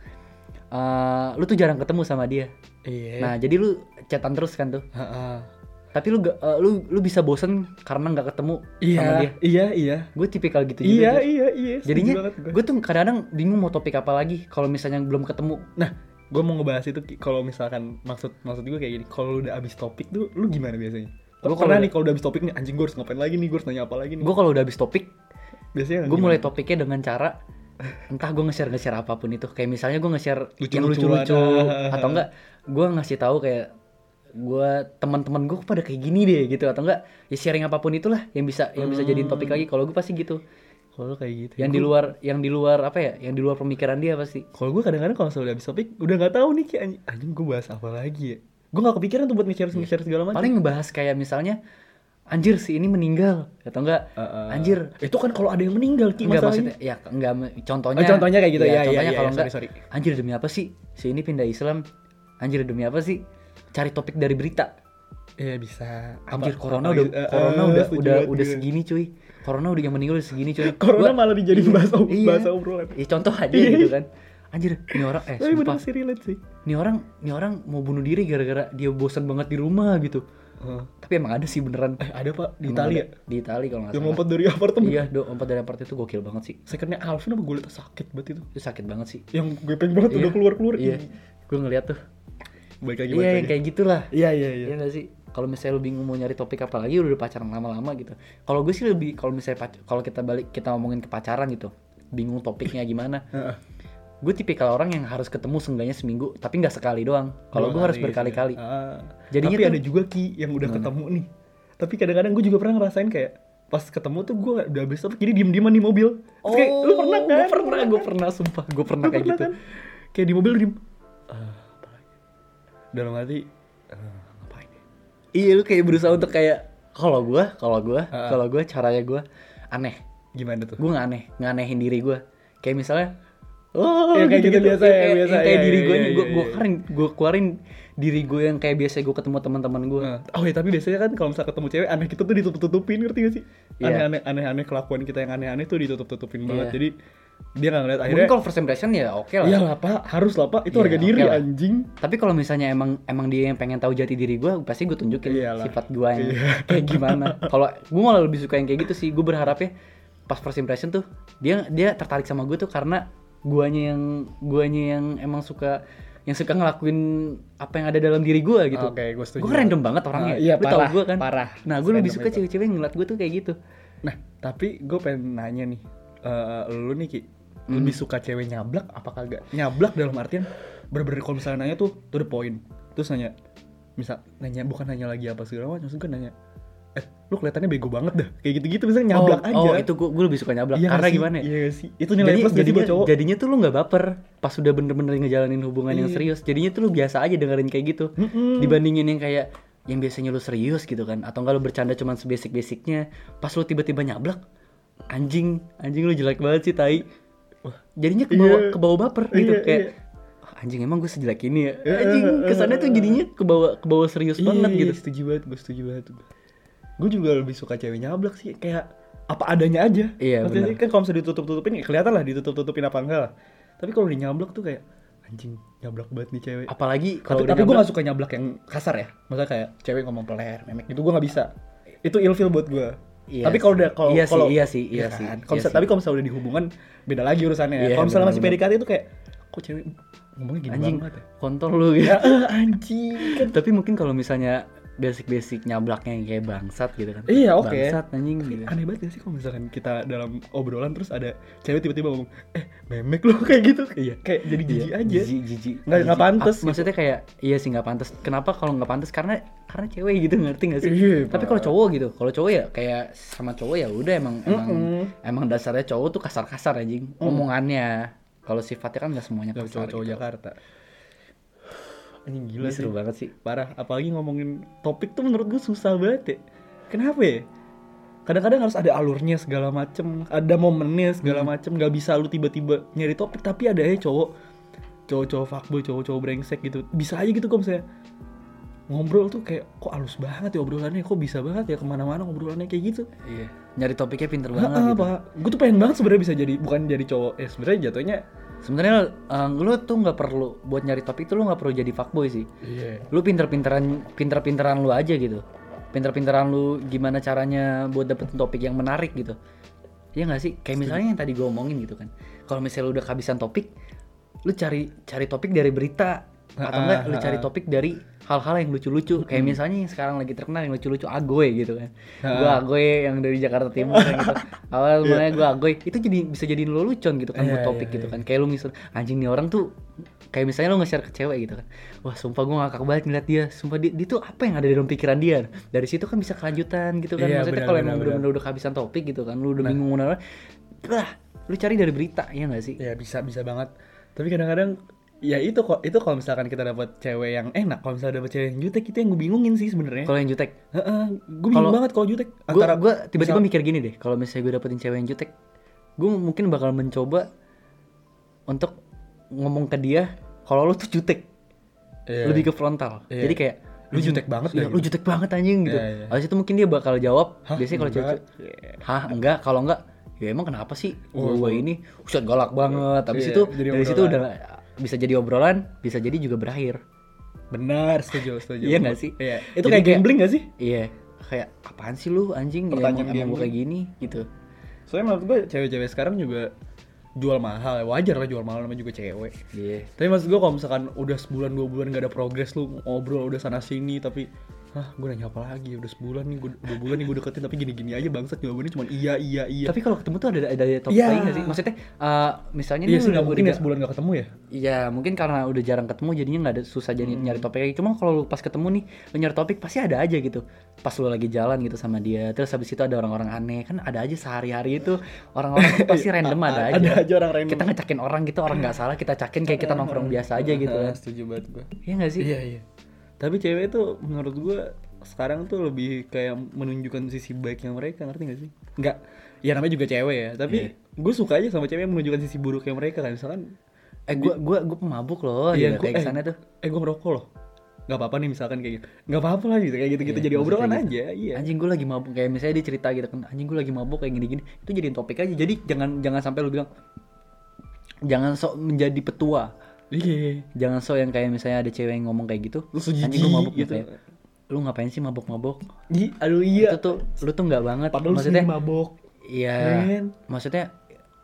eh, lu tuh jarang ketemu sama dia. iya Nah, jadi lu chatan terus kan tuh. Ha-ha. Tapi lu gak- eh, lu lu bisa bosen karena nggak ketemu iya sama dia iya iya gue tipikal gitu juga iya Jess. iya iya setuju jadinya banget gua. gue tuh kadang-kadang bingung mau topik apa lagi kalau misalnya belum ketemu Nah, gue mau ngebahas itu Ki. kalau misalkan maksud maksud gue kayak gini, kalau lu udah abis topik tuh lu gimana biasanya? Gua Gue kalau pernah udah- nih kalau udah abis topik nih anjing gue harus ngapain lagi nih, gue harus nanya apa lagi nih. gue kalau udah habis topik biasanya gue mulai topiknya dengan cara entah gue nge-share nge-share apapun itu kayak misalnya gue nge-share yang Lucu-lucuan. ah, lucu-lucu atau enggak gue ngasih tahu kayak gue teman-teman gue pada kayak gini deh gitu atau enggak ya sharing apapun itulah yang bisa yang bisa jadiin topik lagi kalau gue pasti gitu kalau kayak gitu. yang di luar yang di luar apa ya yang di luar pemikiran dia pasti Kalau gue kadang-kadang kalau udah abis topik udah nggak tahu nih Ki anjing, anjing gue bahas apa lagi ya. Gue gak kepikiran tuh buat nge-share nge-share segala macam. Iya. paling ngebahas kayak misalnya anjir si ini meninggal atau enggak Uh-uh. anjir Itu kan kalau ada yang meninggal Ki Enggak maksudnya masalahnya. ya enggak me- contohnya. Oh, contohnya kayak gitu, Iya, ya, iya, contohnya iya, kalau iya, enggak sorry, anjir demi apa sih? Si ini pindah Islam. Anjir demi apa sih? Cari topik dari berita. Iya bisa. Anjir Apa- corona apa- udah eh, eh, corona udah setuju udah banget udah gue. segini cuy. Corona udah yang meninggal udah segini cuy. Corona Gua- malah dijadiin bahasa iya. bahasa obrolan. Iya, contoh aja gitu kan. anjir ini orang eh Tapi bener sumpah sih relate sih. ini orang ini orang mau bunuh diri gara-gara dia bosan banget di rumah gitu tapi emang ada sih beneran Eh, ada pak di Emang Italia. ada. di Itali kalau nggak Yang salah ngumpet dari apartemen. iya do empat dari apart itu gokil banget sih Secondnya Alvin apa gue sakit banget itu. itu sakit banget sih Yang gue pengen banget Iya. udah keluar keluar. iya gue ngeliat tuh Baik lagi iya yang kayak gitulah Iya iya iya. Iya nggak sih? Kalau misalnya lu bingung mau nyari topik apa lagi, udah pacaran lama-lama gitu. Kalau gue sih lebih kalau misalnya pac- kalau kita balik kita ngomongin ke pacaran gitu, bingung topiknya gimana. Heeh. Gue tipikal orang yang harus ketemu seenggaknya seminggu, tapi nggak sekali doang. Kalau Dua gue harus kali, berkali-kali. Oh, iya. Ah. Jadinya tapi tuh- ada juga ki yang udah ketemu nih. Tapi kadang-kadang gue juga pernah ngerasain kayak pas ketemu tuh gue udah habis topik jadi diem-dieman di mobil. Terus kayak, lu pernah kan? Gue Oh, pernah, gue pernah sumpah, gue pernah Lu kayak pernah gitu. kan? Kayak di mobil lu diem. "Ah, apa lagi?" Dalam hati "Ah, ngapain ya? Iya, lu kayak berusaha untuk kayak kalau gue, kalau gue, Ah. kalau gue caranya gue aneh. Gimana tuh? Gue nggak aneh, nggak anehin diri gue. Kayak misalnya Oh, Ya, kayak gitu biasa ya, kayak, biasa. yang kayak Ya, diri ya, gue ya, nih, gue ya, gue ya. keluarin, gue keluarin diri gue yang kayak biasa gue ketemu teman-teman gue. Nah, oh ya tapi biasanya kan kalau misalnya ketemu cewek aneh kita tuh ditutup-tutupin ngerti gak sih? Iya. Aneh-aneh aneh-aneh kelakuan kita yang aneh-aneh tuh ditutup-tutupin banget. Iya. Jadi dia nggak ngeliat Mungkin akhirnya. kalau first impression ya oke lah. Iya lah pak, harus lah pak. Itu Iya, harga diri oke lah. anjing. Tapi kalau misalnya emang emang dia yang pengen tahu jati diri gue, pasti gue tunjukin Iyalah. sifat gue yang Iya. kayak gimana. Kalau gue malah lebih suka yang kayak gitu sih. Gue berharapnya pas first impression tuh dia dia tertarik sama gue tuh karena guanya yang guanya yang emang suka yang suka ngelakuin apa yang ada dalam diri gue gitu. Oke, gue setuju. Gue random banget orangnya. Ah, iya, Lu tau parah, gue kan. parah. Nah, gue lebih Random suka itu. cewek-cewek yang ngeliat gue tuh kayak gitu. Nah tapi gue pengen nanya nih, eh, lu nih ki lebih suka cewek nyablak apa kagak? Nyablak dalam artian bener-bener kalau misalnya nanya tuh to the point. Terus nanya, misal nanya bukan nanya lagi apa segala macam, maksud gue nanya, eh lu kelihatannya bego banget dah. Kayak gitu-gitu misalnya nyablak oh, aja. Oh, itu gue lebih suka nyablak. Iya karena nggak sih? gimana ya? Iya nggak sih. Itu nilai plus gak sih jadinya, buat cowok? jadinya tuh lu nggak baper pas sudah bener-bener ngejalanin hubungan yang Iya. serius jadinya tuh lu biasa aja dengerin kayak gitu Mm-mm. dibandingin yang kayak yang biasanya lu serius gitu kan atau enggak lu bercanda cuman sebasic-basicnya pas lu tiba-tiba nyablak anjing anjing lu jelek banget sih tai jadinya kebawa Iya. kebawa baper gitu Iya, kayak iya. "Ah, anjing emang gue sejelek ini ya Iya, anjing iya, iya, kesannya tuh jadinya kebawa kebawa serius banget gitu Setuju banget, gue setuju banget. Gue juga lebih suka cewek nyablak sih, kayak apa adanya aja. Iya, Maksudnya benar. kan kalau misalnya ditutup-tutupin, ya kelihatan lah ditutup-tutupin apa enggak lah. Tapi kalau di nyablak tuh kayak anjing nyablak banget nih cewek. apalagi tapi kalau udah tapi gue nyablak- gak suka nyablak yang kasar ya. Maksudnya kayak cewek ngomong peler, memek gitu gue gak bisa. Itu ilfil buat gue. Iya tapi kalau udah kalau Iya sih, kalau Ya kan? iya sih, iya sih, iya Kalau misalnya- sih. tapi kalau misalnya udah di hubungan beda lagi urusannya. Iya, kalau misalnya masih benar-benar. PDKT itu kayak kok cewek ngomongnya gini anjing banget ya. kontol lu gitu Ya, eh, anjing kan tapi mungkin kalau misalnya basic-basic nyablaknya yang kayak bangsat gitu kan Iya, oke. bangsat anjing Tapi gitu aneh banget gak sih kalau misalkan kita dalam obrolan terus ada cewek tiba-tiba ngomong eh memek lo kayak gitu iya kayak jadi jijik aja jijik jijik Nggak- nggak Jijik. pantas gitu. Ah, maksudnya kayak iya sih nggak pantas kenapa kalau nggak pantas karena karena cewek gitu ngerti nggak sih Iya, tapi Pak. kalau cowok gitu kalau cowok ya kayak sama cowok ya udah emang emang Mm-mm. emang dasarnya cowok tuh kasar-kasar anjing omongannya kalau sifatnya kan nggak semuanya Gak kasar cowok-cowok gitu. Jakarta anjing gila Ini sih seru banget sih parah apalagi ngomongin topik tuh menurut gue susah banget ya kenapa ya kadang-kadang harus ada alurnya segala macem ada momennya segala macem nggak bisa lu tiba-tiba nyari topik tapi ada aja cowok cowok-cowok fuckboy cowok-cowok brengsek gitu bisa aja gitu kok misalnya ngobrol tuh kayak kok halus banget ya obrolannya kok bisa banget ya kemana-mana obrolannya kayak gitu iya nyari topiknya pinter banget Heeh, gitu. pak gue tuh pengen banget sebenarnya bisa jadi bukan jadi cowok eh sebenarnya jatuhnya sebenarnya eh, lu tuh nggak perlu buat nyari topik tuh lu nggak perlu jadi fuckboy sih iya lu pinter-pinteran pinter-pinteran lu aja gitu pinter-pinteran lu gimana caranya buat dapetin topik yang menarik gitu ya nggak sih kayak misalnya yang tadi gue omongin gitu kan kalau misalnya lu udah kehabisan topik lu cari cari topik dari berita atau Ah, enggak lu ah, cari ah. topik dari hal-hal yang lucu-lucu kayak misalnya yang sekarang lagi terkenal yang lucu-lucu agoy gitu kan Ah, gua agoy yang dari Jakarta Timur kan gitu awal mulanya gua agoy itu jadi bisa jadiin lu lucon gitu kan buat Iya, topik iya, gitu kan kayak lu misal anjing nih orang tuh kayak misalnya lu nge-share ke cewek gitu kan wah sumpah gua ngakak banget ngeliat dia sumpah dia, dia tuh apa yang ada di dalam pikiran dia dari situ kan bisa kelanjutan gitu kan Iya, maksudnya benar, kalau benar, Nah. emang benar. bener-bener udah kehabisan topik gitu kan lu udah bingung mau naruh, lah lu cari dari berita ya nggak sih Ya bisa bisa banget. Tapi kadang-kadang ya itu kok itu kalau misalkan kita dapat cewek yang enak, kalau misalnya dapat cewek yang jutek itu yang gue bingungin sih sebenarnya. kalau yang jutek Heeh, gue bingung Kalau- banget kalau jutek. gue gue tiba-tiba misal- mikir gini deh kalau misalnya gue dapetin cewek yang jutek gue mungkin bakal mencoba untuk ngomong ke dia kalau lu tuh jutek Iya. lebih ke frontal Iya. jadi kayak Lu "Anjing, jutek banget iya, dah," lu jutek banget anjing gitu Iya, iya. habis itu mungkin dia bakal jawab Hah, biasanya kalau cewek enggak. Oh, hah enggak kalau enggak ya emang kenapa sih Wah, gue ini Ustaz galak banget habis Iya, itu jadi dari situ udah obrolan. bisa jadi obrolan bisa jadi juga berakhir Benar, setuju, setuju. Iya nggak sih? Iya. Itu Jadi kayak kayak- gambling nggak sih? iya kayak apaan sih lu anjing Pertanyaan Pertanyaan emang, gue gambling. kayak gini gitu Soalnya menurut gue cewek-cewek sekarang juga jual mahal, ya. wajar lah jual mahal namanya juga cewek. iya Tapi maksud gue kalau misalkan udah sebulan dua bulan gak ada progres lu ngobrol udah sana sini tapi Hah, gue nanya apa lagi? Udah sebulan nih, gua, dua bulan nih gue deketin tapi gini-gini aja bangsat jawabannya cuma iya, iya, iya. tapi kalau ketemu tuh ada ada topik Iya. lain nggak sih maksudnya eh, misalnya iya dia sih, udah nggak mungkin udah- ya sebulan gak ketemu ya? Iya, mungkin karena udah jarang ketemu jadinya nggak ada susah jadi Hmm. nyari topik lagi. Cuma kalau lu pas ketemu nih, lu nyari topik pasti ada aja gitu. Pas lu lagi jalan gitu sama dia, terus habis itu ada orang-orang aneh. Kan ada aja sehari-hari itu orang-orang tuh pasti random ada aja. Iya. Ada aja Iya. orang random. Kita ngecakin orang gitu, orang nggak salah kita cakin kayak kita nongkrong biasa aja gitu kan. setuju banget gue. Iya nggak sih? Iya, iya. Tapi cewek tuh menurut gue sekarang tuh lebih kayak menunjukkan sisi baiknya mereka, ngerti gak sih? Nggak, ya namanya juga cewek ya. Tapi Iya. gue suka aja sama cewek yang menunjukkan sisi buruknya mereka kan. Misalkan Eh gua gua gua pemabuk loh, Iya, gitu, gua- kayak eh, kesana tuh. eh gue merokok loh nggak apa-apa nih misalkan kayak gitu nggak apa-apa lah gitu kayak gitu gitu Iya, jadi maksudnya obrolan kayak aja iya Anjing gue lagi mabuk kayak misalnya dia cerita gitu kan anjing gue lagi mabuk kayak gini-gini itu jadiin topik aja. Jadi jangan jangan sampai lu bilang jangan sok menjadi petua. iya jangan so yang kayak misalnya ada cewek yang ngomong kayak gitu Lu sejijik anjing lu mabuk gitu. gitu lu ngapain sih mabok-mabok Ji, aduh iya itu tuh lu tuh nggak banget padahal lu maksudnya sendiri mabok iya Men. maksudnya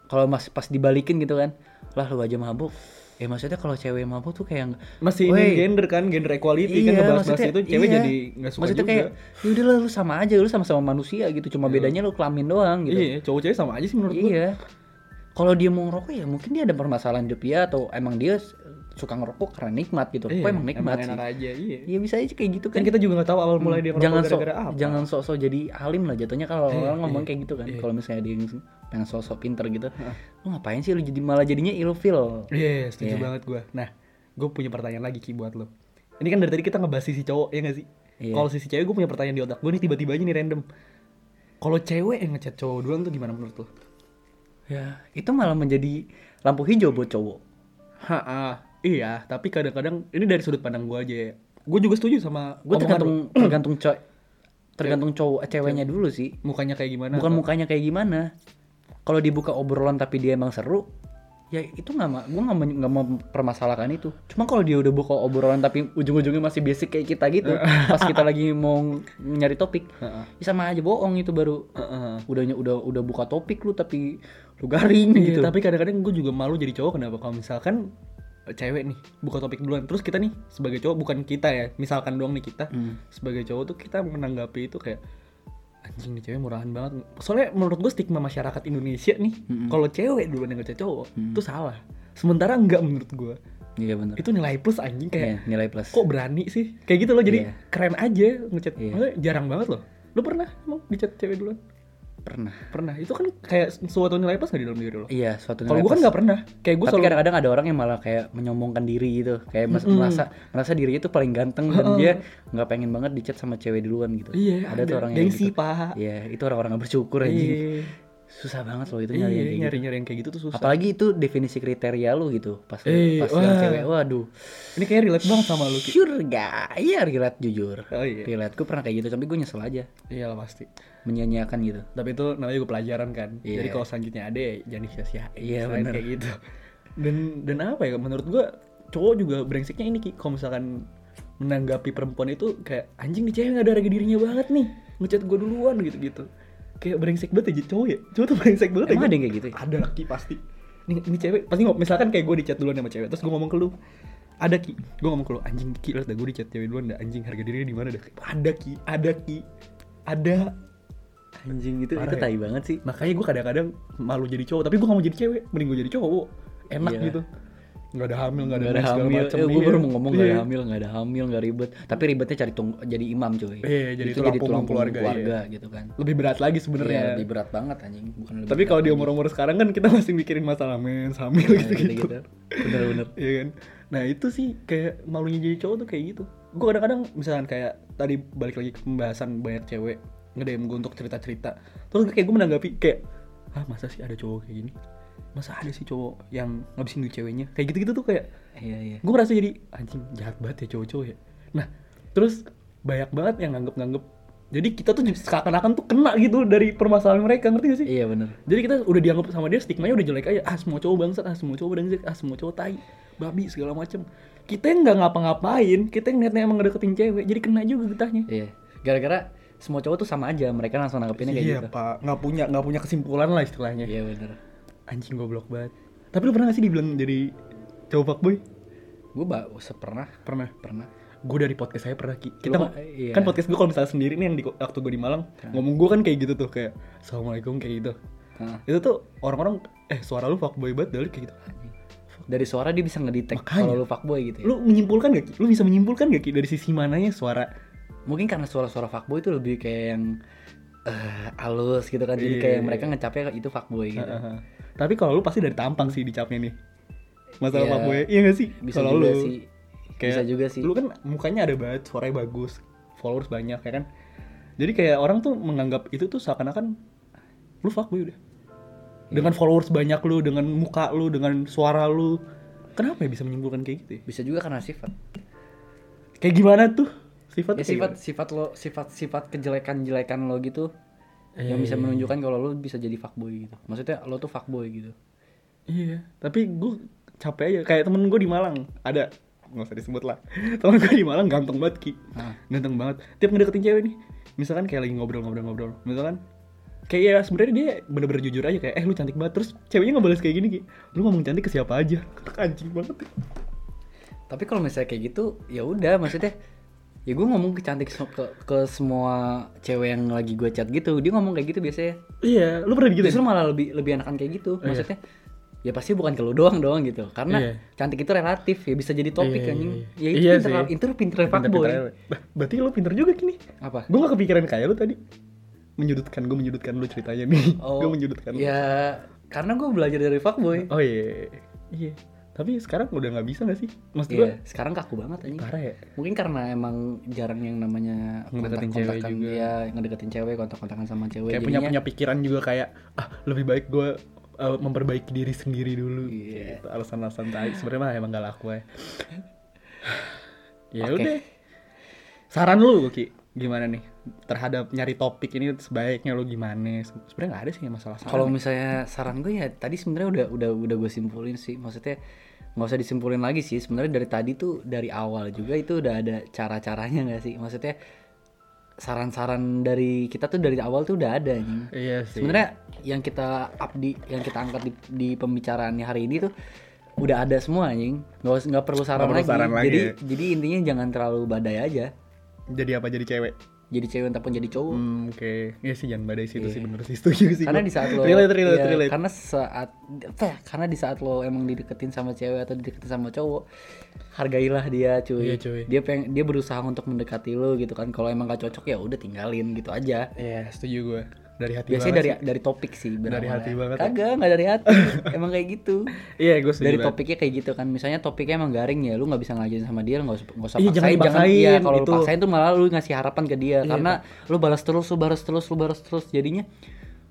kalau mas pas dibalikin gitu kan lah lu aja mabuk ya maksudnya kalau cewek mabuk tuh kayak yang- masih Wey, ini gender kan gender equality kan ngebahas-bahas itu cewek iya. jadi nggak suka maksudnya juga kayak ya udahlah lu sama aja lu sama-sama manusia gitu cuma bedanya lu kelamin doang gitu iya cowok cewek sama aja sih menurut gue Iya. Kalau dia mau ngerokok ya mungkin dia ada permasalahan hidup dia atau emang dia s- suka ngerokok karena nikmat gitu. Kok emang nikmat Iya, enak sih? aja iya Iya bisa aja kayak gitu kan kan. kita juga nggak tahu awal mulai dia ngerokok jangan sok gara-gara apa jangan sok-sok jadi alim lah jatuhnya kalau orang ngomong kayak gitu kan. iya. Kalau misalnya dia yang pengen sok-sok pinter gitu. Lu ngapain sih lu jadi malah jadinya ilfil. iya Iya. setuju banget gue nah gue punya pertanyaan lagi ki buat lo ini kan dari tadi kita ngebahas sisi cowok ya nggak sih Iya. kalau sisi cewek gue punya pertanyaan di otak gue nih tiba-tiba aja nih random kalau cewek yang ngechat cowok doang tuh gimana menurut lo? Ya, itu malah menjadi lampu hijau buat cowok. Ha, ah, iya, tapi kadang-kadang ini dari sudut pandang gue aja. Gue juga setuju sama Gue omongan tergantung lu. tergantung cowok tergantung cowok eh, ceweknya dulu sih. mukanya kayak gimana. bukan atau- mukanya kayak gimana kalau dibuka obrolan tapi dia emang seru ya itu nggak ma- gua nggak men- nggak mau permasalahkan itu cuma kalau dia udah buka obrolan tapi ujung-ujungnya masih basic kayak kita gitu pas kita lagi mau ng- nyari topik Heeh. ya sama aja bohong itu baru Heeh. udahnya udah udah buka topik lu tapi lu garing Iya, gitu tapi kadang-kadang gue juga malu jadi cowok kenapa? Kalau misalkan eh, cewek nih buka topik duluan, terus kita nih sebagai cowok bukan kita ya, misalkan doang nih kita Hmm. sebagai cowok tuh kita menanggapi itu kayak anjing nih cewek murahan banget. Soalnya menurut gue stigma masyarakat Indonesia nih, kalau cewek duluan yang ngechat cowok itu salah. Sementara enggak menurut gue iya bener itu nilai plus anjing kayak Iya, nilai plus kok berani sih kayak gitu loh jadi Iya. keren aja ngechat Iya. Maksudnya jarang banget loh lu pernah emang dicat cewek duluan pernah pernah itu kan kayak suatu nilai plus gak di dalam diri lo iya suatu kalau nilai gue kan plus. nggak pernah kayak gue tapi selalu kadang-kadang ada orang yang malah kayak menyombongkan diri gitu kayak mas- merasa merasa dirinya tuh paling ganteng dan dia nggak pengen banget dicat sama cewek duluan gitu Iya, ada, tuh ada. orang yang Gengsi, gitu. Pak. iya itu orang-orang nggak bersyukur anjing Iya. susah banget loh itu nyari Iya, yang kayak nyari gitu nyari yang kayak gitu tuh susah apalagi itu definisi kriteria lu gitu pas Eh, pas yang wah. cewek waduh ini kayak relate banget sama lu Ki. surga iya relate jujur oh iya relate gue pernah kayak gitu tapi gue nyesel aja iyalah pasti menyanyiakan gitu tapi itu namanya juga pelajaran kan Iya. jadi kalau selanjutnya ada ya jangan disia-siain Iya, Selain bener. kayak gitu dan dan apa ya menurut gua cowok juga brengseknya ini Ki kalau misalkan menanggapi perempuan itu kayak anjing nih cewek nggak ada harga dirinya banget nih ngechat gua duluan gitu gitu kayak brengsek banget ya jadi cowok ya cowok tuh brengsek banget ya, emang Ki? ada yang kayak gitu ya? ada laki pasti ini, ini cewek pasti ngomong misalkan kayak gue dicat duluan sama cewek terus gue ngomong ke lu ada ki gue ngomong ke lu anjing ki lihat gue dicat cewek duluan dah anjing harga dirinya di mana dah ada ki ada ki ada anjing itu Parah itu ya? tai banget sih makanya gue kadang-kadang malu jadi cowok tapi gue gak mau jadi cewek mending gue jadi cowok enak Iya. gitu nggak ada hamil nggak ada, Gak ada lain segala hamil, macem. eh, gue Iya. baru mau ngomong gak ada Iya. hamil, gak ada hamil, gak ribet Tapi ribetnya cari tung- jadi imam cuy Iya, jadi Itu tulang punggung keluarga, iya. gitu kan lebih berat lagi sebenarnya Iya, lebih berat banget anjing Bukan lebih tapi berat kalau di lagi. umur-umur sekarang kan kita masih mikirin masalah mens hamil Nah, gitu-gitu gitu-gitu. Bener-bener Iya kan? Nah itu sih kayak malunya jadi cowok tuh kayak gitu. Gue kadang-kadang misalkan kayak tadi balik lagi ke pembahasan banyak cewek ngedem gue untuk cerita-cerita. Terus kayak gue menanggapi kayak, ah masa sih ada cowok kayak gini? Masa ada sih cowok yang ngabisin duit ceweknya? Kayak gitu-gitu tuh kayak Iya, iya gue merasa jadi anjing jahat banget ya cowok-cowok ya. Nah terus banyak banget yang nganggep-nganggep jadi kita tuh seakan-akan tuh kena gitu dari permasalahan mereka ngerti gak sih Iya bener. jadi kita udah dianggap sama dia stigmanya udah jelek aja ah semua cowok bangsat ah semua cowok bangsat ah semua cowok tai babi segala macem kita yang nggak ngapa-ngapain kita yang niatnya emang ngedeketin cewek jadi kena juga getahnya Iya. Gara-gara semua cowok tuh sama aja, mereka langsung nanggepinnya kayak gitu. Iya, pak nggak punya nggak punya kesimpulan lah istilahnya Iya bener. anjing goblok banget tapi lu pernah gak sih dibilang jadi cowok fuckboy Gue bak sepernah pernah pernah. gue dari podcast saya pernah Ki. kita Lu ma- iya. kan podcast gue kalau misalnya sendiri nih yang di, waktu gue di Malang ngomong gue kan kayak gitu tuh kayak assalamualaikum kayak gitu Heeh. itu tuh orang-orang eh suara lu fuckboy banget dari kayak gitu Dari suara dia bisa ngedetect Makanya. kalau lu fuckboy gitu ya. lu menyimpulkan gak Ki? lu bisa menyimpulkan gak Ki dari sisi mananya suara Mungkin karena suara-suara fuckboy itu lebih kayak yang eh halus gitu kan. Jadi Iya, kayak iya, mereka ngecapnya itu fuckboy gitu. Heeh. tapi kalau lu pasti dari tampang sih dicapnya nih masalah Iya. fuckboy iya gak sih Bisa kalau juga lu sih. kayak Bisa juga sih. lu kan mukanya ada banget suaranya bagus followers banyak ya kan jadi kayak orang tuh menganggap itu tuh seakan-akan lu fuckboy udah Iya. dengan followers banyak lu dengan muka lu dengan suara lu kenapa ya bisa menyimpulkan kayak gitu ya? Bisa juga karena sifat. kayak gimana tuh sifat Ya, sifat sifat lo sifat sifat kejelekan jelekan lo gitu yang Iya. bisa menunjukkan kalau lo bisa jadi fuckboy gitu. Maksudnya lo tuh fuckboy gitu. iya tapi gue capek aja kayak temen gue di Malang ada nggak usah disebut lah temen gue di Malang ganteng banget ki Ah. ganteng banget tiap ngedeketin cewek nih misalkan kayak lagi ngobrol-ngobrol-ngobrol misalkan kayak ya sebenarnya dia bener-bener jujur aja kayak eh lu cantik banget terus ceweknya ngebales kayak gini ki lu ngomong cantik ke siapa aja anjing banget Tapi kalau misalnya kayak gitu, ya udah maksudnya ya gue ngomong ke cantik so- ke, ke semua cewek yang lagi gue chat gitu, dia ngomong kayak gitu biasanya. iya lu pernah gitu Justru malah lebih lebih enakan kayak gitu. iya. Maksudnya ya pasti bukan ke lu doang doang gitu. Karena Iya. cantik itu relatif ya bisa jadi topik Iya, iya, anjing. iya. Ya itu Iya pinter, sih. itu pinter fuckboy. berarti lu pinter juga kini Apa? gue gak kepikiran kayak lu tadi menyudutkan gue menyudutkan lu ceritanya nih gue menyudutkan lu. Ya karena gue belajar dari fuckboy. oh iya iya tapi sekarang udah nggak bisa nggak sih maksud gue Iya, sekarang kaku banget anjing. parah ya Mungkin karena emang jarang yang namanya Ngedeketin cewek kontak-kontakan juga. ya, ngedeketin cewek, kontak-kontakan sama cewek. kayak punya Jadinya- punya pikiran juga kayak ah lebih baik gue memperbaiki diri sendiri dulu Iya. gitu alasan-alasan tai sebenarnya mah emang gak laku ya ya Oke. udah saran lu Ki gimana nih terhadap nyari topik ini sebaiknya lu gimana Se- sebenarnya nggak ada sih masalah saran Kalau misalnya saran gue ya tadi sebenarnya udah udah udah gue simpulin sih. Maksudnya nggak usah disimpulin lagi sih. Sebenarnya dari tadi tuh dari awal juga itu udah ada cara-caranya nggak sih? Maksudnya saran-saran dari kita tuh dari awal tuh udah ada nih. iya sih Sebenarnya yang kita up di yang kita angkat di, di pembicaraannya hari ini tuh udah ada semua anjing. Nggak us- nggak perlu saran, perlu lagi. saran lagi Jadi ya. jadi intinya jangan terlalu badai aja. jadi apa jadi cewek Jadi cewek ataupun jadi cowok. Hmm, oke iya sih jangan badai sih itu Iya. sih bener sih setuju sih karena gua. di saat lo relate relate iya, relate karena saat eh, karena di saat lo emang dideketin sama cewek atau dideketin sama cowok hargailah dia cuy, Iya, cuy. dia peng dia berusaha untuk mendekati lo gitu kan kalau emang gak cocok ya udah tinggalin gitu aja Iya, setuju gue dari hati biasanya dari banget dari topik sih Dari hati banget ya. kagak nggak dari hati emang kayak gitu sih. iya gue setuju dari banget. topiknya kayak gitu kan misalnya topiknya emang garing ya lu nggak bisa ngajarin sama dia lu nggak usah nggak usah Iya, jangan paksain dipaksain, iya, kalau lu itu. Iya. paksain tuh malah lu ngasih harapan ke dia karena lu balas terus lu balas terus lu balas terus jadinya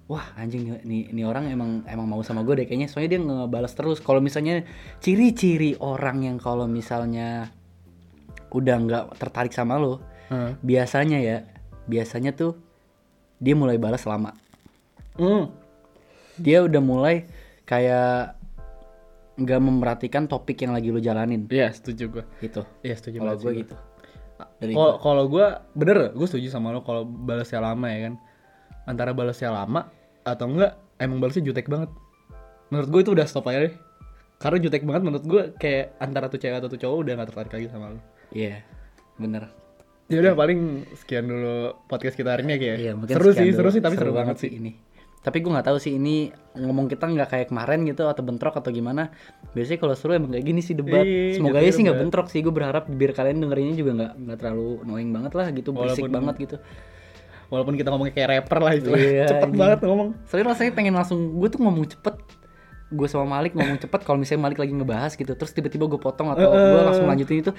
wah anjing nih- nih nih orang emang emang mau sama gue deh kayaknya soalnya dia ngebalas terus kalau misalnya ciri-ciri orang yang kalau misalnya udah nggak tertarik sama lu Heeh. biasanya ya biasanya tuh dia mulai balas lama Hmm. dia udah mulai kayak nggak memperhatikan topik yang lagi lu jalanin iya setuju gue gitu Iya setuju kalau banget gue sih gitu dari Kalau kalau gue bener, gue setuju sama lo kalau balasnya lama ya kan. Antara balasnya lama atau enggak, emang balasnya jutek banget. Menurut gue itu udah stop aja deh. Karena jutek banget menurut gue kayak antara tuh cewek atau tuh cowok udah gak tertarik lagi sama lo. iya bener Ya udah paling sekian dulu podcast kita hari ini ya Ki, ya. iya mungkin seru sekian sih, dulu. seru sih tapi seru, banget sih. ini tapi gue nggak tahu sih ini ngomong kita nggak kayak kemarin gitu atau bentrok atau gimana biasanya kalau seru emang kayak gini sih debat Iya, semoga jatuhnya aja sih nggak debat. bentrok sih gue berharap biar kalian dengerinnya juga nggak nggak terlalu annoying banget lah gitu berisik Walaupun- banget gitu Walaupun kita ngomongnya kayak rapper lah itu. Iya, Cepet ini. banget ngomong. soalnya rasanya pengen langsung gue tuh ngomong cepet gue sama Malik ngomong cepet kalau misalnya Malik lagi ngebahas gitu terus tiba-tiba gue potong atau Eh, gue langsung lanjutin itu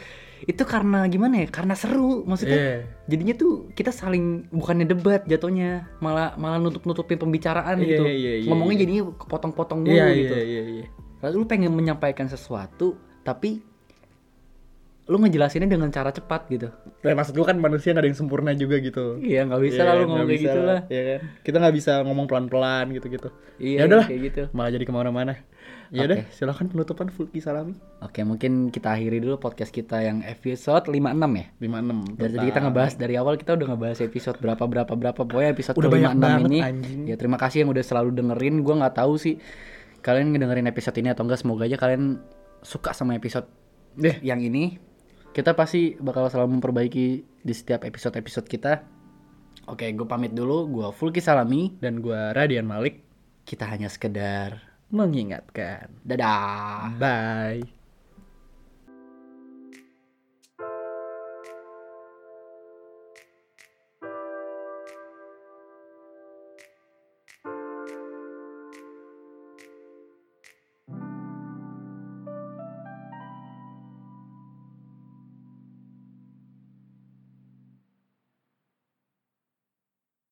itu karena gimana ya karena seru maksudnya Iya. jadinya tuh kita saling bukannya debat jatuhnya malah malah nutup-nutupin pembicaraan Iya, gitu iya, iya, iya. ngomongnya jadinya kepotong-potong dulu Iya, gitu iya, iya, iya. lalu lu pengen menyampaikan sesuatu tapi lu ngejelasinnya dengan cara cepat gitu Nah, maksud gue kan manusia gak ada yang sempurna juga gitu. iya nggak bisa Iya, lah lu nggak ngomong kayak bisa gitu lah Iya kan? Kita nggak bisa ngomong pelan-pelan gitu-gitu. iya Ya udahlah. kayak gitu Malah jadi kemana-mana. Ya udah, silakan penutupan Fulki Salami. oke mungkin kita akhiri dulu podcast kita yang episode 56 ya 56. dari tadi kita ngebahas dari awal kita udah ngebahas episode berapa berapa berapa pokoknya episode Udah ke banyak 56 banget, ini anjing. ya terima kasih yang udah selalu dengerin gua nggak tahu sih kalian ngedengerin episode ini atau enggak semoga aja kalian suka sama episode Deh. yang ini kita pasti bakal selalu memperbaiki di setiap episode episode kita oke gue pamit dulu gua Fulki Salami Dan gua Radian Malik kita hanya sekedar mengingatkan. dadah Bye.